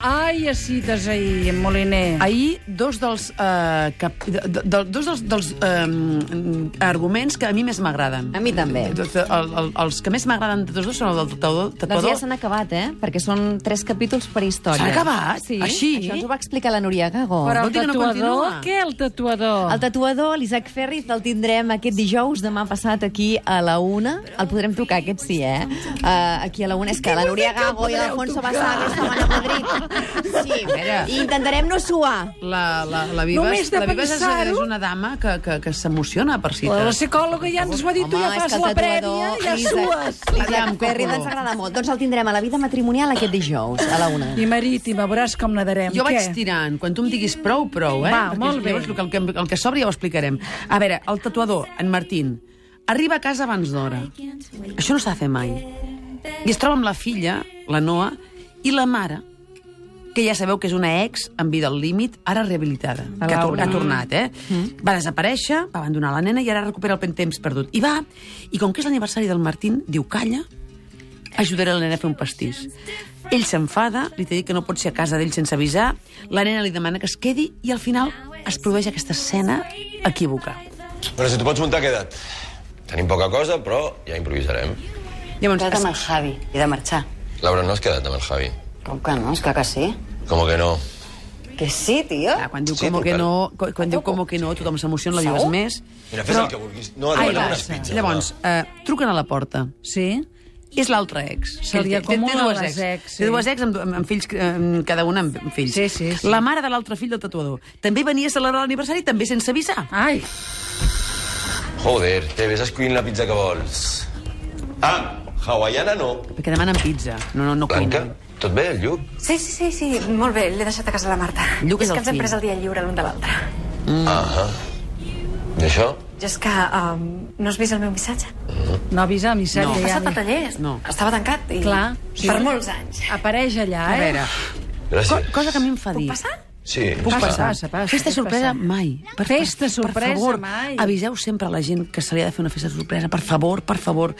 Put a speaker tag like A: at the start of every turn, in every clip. A: Ai, a cites ahir, en Moliner. Ai.
B: Ahir, dos dels, eh, cap, de, de, dos dels, dels eh, arguments que a mi més m'agraden.
C: A mi també.
B: Doncs, eh, El, el, els que més m'agraden de tots dos són el del tatuador...
C: Doncs ja
B: tatuador.
C: s'han acabat, eh? Perquè són tres capítols per història.
B: S'ha acabat?
C: Sí.
B: Així?
C: Això ens ho va explicar la Núria Gago.
A: Però
B: Vol
A: el
B: dir que no
A: tatuador,
B: continua?
A: què el tatuador?
C: El tatuador, l'Isaac Ferriz, el tindrem aquest dijous, demà passat, aquí a la una. El podrem tocar, aquest sí, eh? Uh, aquí a la una. És que la Núria Gago i l'Alfonso Basar estaven a Madrid. Sí, i intentarem no suar.
B: La, la, la Vives,
A: Només de
B: la Vives és,
A: pensar-ho-
B: és una dama que, que, que s'emociona per cites.
A: La psicòloga ja ens ho ha dit, tu ja
C: és
A: fas
C: que el
A: la prèvia,
C: tatuador,
A: ja
C: l'Isaac-
A: sues.
B: Aviam,
C: L'Isaac Ferriz
B: Coco.
C: ens agrada molt. Doncs el tindrem a la vida matrimonial aquest dijous, a la una.
A: I marítima, veuràs com nadarem.
B: Jo
A: què?
B: vaig tirant. Quan tu em diguis prou, prou, eh?
A: Va,
B: Perquè
A: molt bé.
B: Llavors, el que, el que- el que s'obre ja ho explicarem. A veure, el tatuador, en Martín, arriba a casa abans d'hora. Això no s'ha de fer mai. I es troba amb la filla, la Noa, i la mare, que ja sabeu que és una ex en vida al límit, ara rehabilitada, que ha, tor- ha tornat, eh?
A: Mm.
B: Va desaparèixer, va abandonar la nena i ara recupera el temps perdut. I va, i com que és l'aniversari del Martín, diu, calla, ajudaré la nena a fer un pastís. Ell s'enfada, li té dit que no pot ser a casa d'ell sense avisar, la nena li demana que es quedi i al final es produeix aquesta escena equívoca.
D: Però si t'ho pots muntar, queda't. Tenim poca cosa, però ja improvisarem.
B: Llavors,
E: Queda't
B: es,
E: amb el Javi. He de marxar.
D: Laura, no has quedat amb el Javi?
E: Com que no? Esclar que sí.
D: Com que no?
E: Que sí, tio.
B: clar, Ah, quan diu
D: Sí,
B: com que
D: total.
B: no, quan, quan diu com que no, tothom s'emociona, la vives
E: Segur?
B: més.
D: Mira, fes el que vulguis. No,
B: Ai,
D: demanem
B: va.
D: unes pizzas.
B: Llavors, eh, truquen a la porta.
A: Sí?
B: És l'altre ex.
A: Se li
B: Té- té- té
A: acumulen
B: dues
A: les ex, sí.
B: Té dues ex amb, amb, amb fills, eh, amb cada una amb, amb fills.
A: Sí, sí, sí.
B: La mare de l'altre fill del tatuador. També venia a celebrar l'aniversari, també sense avisar.
A: Ai,
D: Joder, te ves escollint la pizza que vols. Ah, hawaiana no.
B: Perquè demanen pizza. No, no, no
D: Blanca,
B: cuinen.
D: tot bé, el Lluc?
F: Sí, sí, sí, sí. Molt bé, l'he deixat a casa la Marta.
B: Lluc és
F: és
B: el
F: que ens hem
B: fill.
F: pres el dia lliure l'un de l'altre.
D: Mm. Ah, I això?
F: Jo és que... Um, no has vist el meu missatge?
A: no avisa el missatge.
B: No.
F: He
A: Ja,
F: passat a
A: ja.
F: tallers.
B: No.
F: Estava tancat i...
A: Clar.
F: Per molts anys.
A: Apareix allà,
B: A
A: eh?
B: veure, co
D: Gràcies.
B: cosa que a mi em fa dir.
F: Puc passar?
D: Sí. Ah.
B: Puc
A: Passa,
B: passar.
A: passa, passa,
B: Festa
A: puc
B: sorpresa
A: passar.
B: mai.
A: Festa sorpresa,
B: per favor,
A: mai.
B: Aviseu sempre a la gent que se li ha de fer una festa sorpresa, per favor, per favor.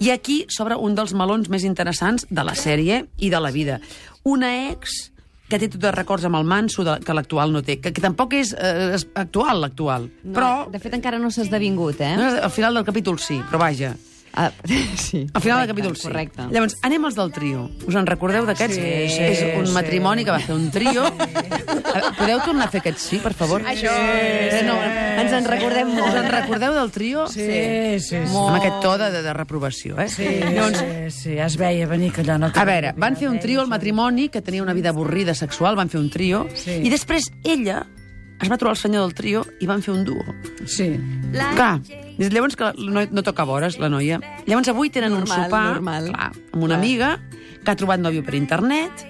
B: I aquí s'obre un dels melons més interessants de la sèrie i de la vida. Una ex que té tots els records amb el manso de, que l'actual no té, que, que tampoc és eh, és actual, l'actual. No, però
C: De fet, encara no s'ha esdevingut, eh?
B: no, al final del capítol sí, però vaja.
C: Ah, sí.
B: Al final del
C: correcte,
B: capítol sí.
C: Correcte.
B: Llavors, anem als del trio. Us en recordeu d'aquests?
A: Sí,
B: és,
A: sí,
B: és un
A: sí.
B: matrimoni que va fer un trio. Eh, Podeu tornar a fer aquest sí, per favor? Això. Sí, no,
C: Ens en recordem molt.
B: Us en recordeu del trio?
A: Sí, sí, sí.
B: Amb aquest to de, de, de reprovació, eh?
A: Sí, sí, sí, es veia venir que allò no...
B: A veure, van fer un trio al matrimoni, que tenia una vida avorrida sexual, van fer un trio,
A: Sí.
B: i després ella es va trobar el senyor del trio i van fer un duo.
A: Sí.
B: Clar, des de llavors que no, no toca vores, la noia. Llavors avui tenen un
C: Normal,
B: sopar
C: normal.
B: Clar, amb una
C: Clar.
B: amiga que ha trobat nòvio per internet,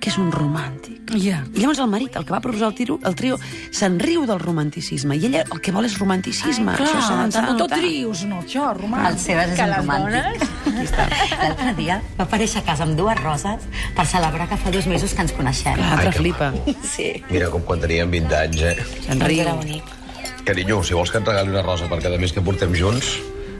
B: que és un romàntic.
A: Ja.
B: I llavors el marit, el que va proposar el, tiro, el trio, se'n riu del romanticisme. I ella el que vol és romanticisme. Ah, Això s'ha de- s'ha de
A: no tot
B: notar.
A: rius, no, això,
G: El
B: Ah,
A: romàntic.
G: Sebas és un romàntic. Aquí està. L'altre dia va aparèixer a casa amb dues roses per celebrar que fa dos mesos que ens coneixem.
B: L'altre
D: Ai, que
B: flipa.
G: Sí.
D: Mira com quan teníem 20 anys, eh?
B: Se'n riu.
G: Era bonic.
D: Carinyo, si vols que et regali una rosa per cada mes que portem junts,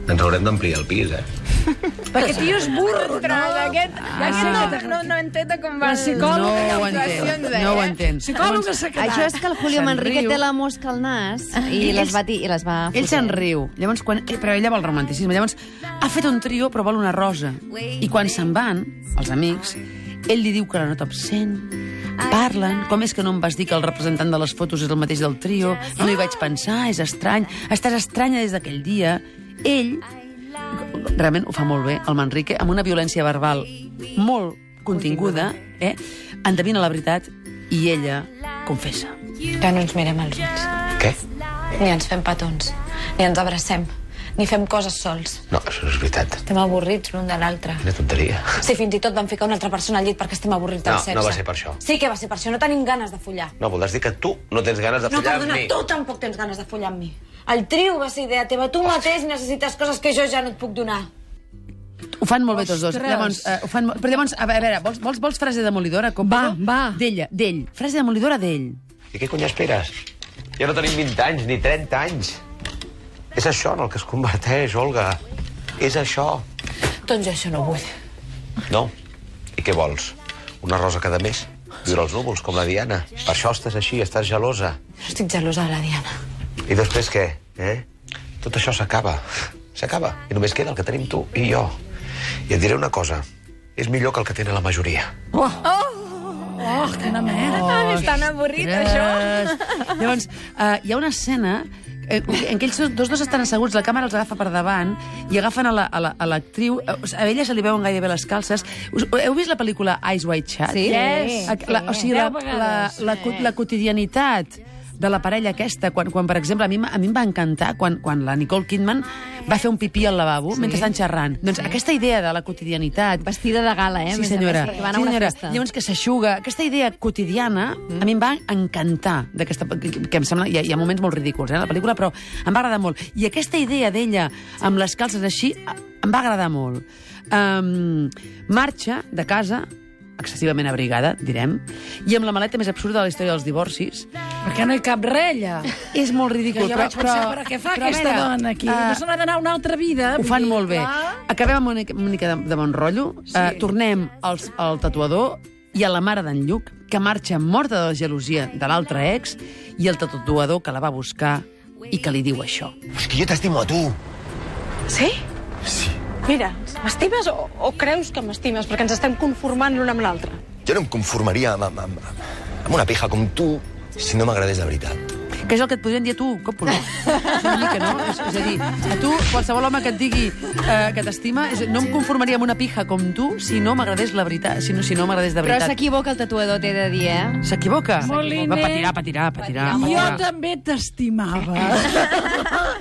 D: ens haurem d'ampliar el pis, eh?
A: Perquè tio és burro, no? Aquest,
B: Ah,
A: aquest no, no, no enteta com va... La psicòloga
B: no
A: ja
B: ho
A: entén.
B: entenc, no ho entenc.
A: Psicòloga s'ha quedat.
C: Això és que el Julio
B: Se'n
C: Manrique
B: riu.
C: té la mosca al nas i les va, ti- i les va
B: Ell se'n riu, llavors quan... eh, però ella vol romanticisme. Llavors, ha fet un trio, però vol una rosa. I quan se'n van, els amics, ell li diu que la nota absent, parlen, com és que no em vas dir que el representant de les fotos és el mateix del trio, no hi vaig pensar, és estrany, estàs estranya des d'aquell dia. Ell, realment ho fa molt bé, el Manrique, amb una violència verbal molt continguda, eh? endevina la veritat i ella confessa.
H: Ja no ens mirem als ulls,
D: Què?
H: ni ens fem petons, ni ens abracem, ni fem coses sols.
D: No, això no és veritat.
H: Estem avorrits l'un de l'altre.
D: Quina tonteria.
H: Si fins i tot vam ficar una altra persona al llit perquè estem avorrits del
D: No,
H: sexe.
D: no va ser per això.
H: Sí que va ser per això, no tenim ganes de follar.
D: No, voldràs dir que tu no tens ganes de
H: No,
D: follar
H: perdona,
D: amb mi.
H: tu tampoc tens ganes de follar amb mi. El trio va ser idea teva, tu mateix necessites coses que jo ja no et puc donar.
B: Ho fan molt bé tots dos.
A: Ostres.
B: Llavors, eh, ho fan... mo- Però llavors, a veure, a veure vols, vols, vols frase demolidora? Com
A: Va, va.
B: D'ella, d'ell. Frase demolidora d'ell.
D: I què cony esperes? Ja no tenim 20 anys, ni 30 anys. És això en el que es converteix, Olga. És això.
H: Doncs jo això no ho vull.
D: No. I què vols? Una rosa cada mes? Viure als núvols, com la Diana. Per això estàs així, estàs gelosa.
F: Estic gelosa de la Diana.
D: I després què? Eh? Tot això s'acaba. S'acaba. I només queda el que tenim tu i jo. I et diré una cosa. És millor que el que tenen la majoria.
B: Quina merda.
A: Ah, és tan avorrit, això.
B: Tres. Llavors, eh, hi ha una escena eh, en què ells dos dos estan asseguts, la càmera els agafa per davant i agafen a l'actriu. La, a la, a, l'actriu, eh, o sigui, a ella se li veuen gairebé les calces. Us, heu vist la pel·lícula Eyes Wide Shut?
C: Sí.
A: Yes.
B: A- La, o sigui, la, la, la, co- la quotidianitat de la parella aquesta, quan, quan per exemple, a mi, m- a mi em va encantar quan, quan la Nicole Kidman va fer un pipí al lavabo sí. mentre estan xerrant. Doncs sí. aquesta idea de la quotidianitat,
C: Vestida de gala, eh?
B: Sí,
C: Més a
B: senyora.
C: més, perquè Van
B: sí,
C: a una
B: senyora.
C: festa.
B: Llavors que s'aixuga. Aquesta idea quotidiana mm. a mi em va encantar, d'aquesta que, que em sembla... Hi ha, hi ha moments molt ridículs, eh, a la pel·lícula, però em va agradar molt. I aquesta idea d'ella amb les calces així a- em va agradar molt. Um, marxa de casa, excessivament abrigada, direm, i amb la maleta més absurda de la història dels divorcis.
I: Perquè no hi cap rella.
B: És molt ridícul,
I: Jo
B: però...
I: vaig pensar, però, què fa
B: però a
I: aquesta
B: veure,
I: dona aquí? Doncs
B: eh,
I: no se n'ha d'anar a una altra vida.
B: ho
I: vull
B: fan
I: dir,
B: molt bé.
I: clar.
B: Acabem amb una, mica- una mica de, de bon rotllo. Sí. Uh, tornem als, al tatuador i a la mare d'en Lluc, que marxa morta de la gelosia de l'altre ex, i el tatuador que la va buscar i que li diu això.
D: És que jo t'estimo a tu.
J: Sí? Sí. Mira, m'estimes o, o creus que m'estimes? Perquè ens estem conformant l'un amb l'altre.
D: Jo no em conformaria amb, amb, amb, amb una pija com tu si no m'agradés de veritat.
B: Que és el que et podrien dir a tu, còpolo. És una mica, no? És, és a dir, a tu, qualsevol home que et digui eh, que t'estima, és- no em conformaria amb una pija com tu si no m'agradés la veritat, si no, si no m'agradés de
C: Però
B: veritat.
C: s'equivoca el tatuador, t'he de dir, eh?
B: S'equivoca.
I: Moliner.
B: Ah, Va patirar, patirar, patirar.
I: Jo
B: patirar.
I: també t'estimava.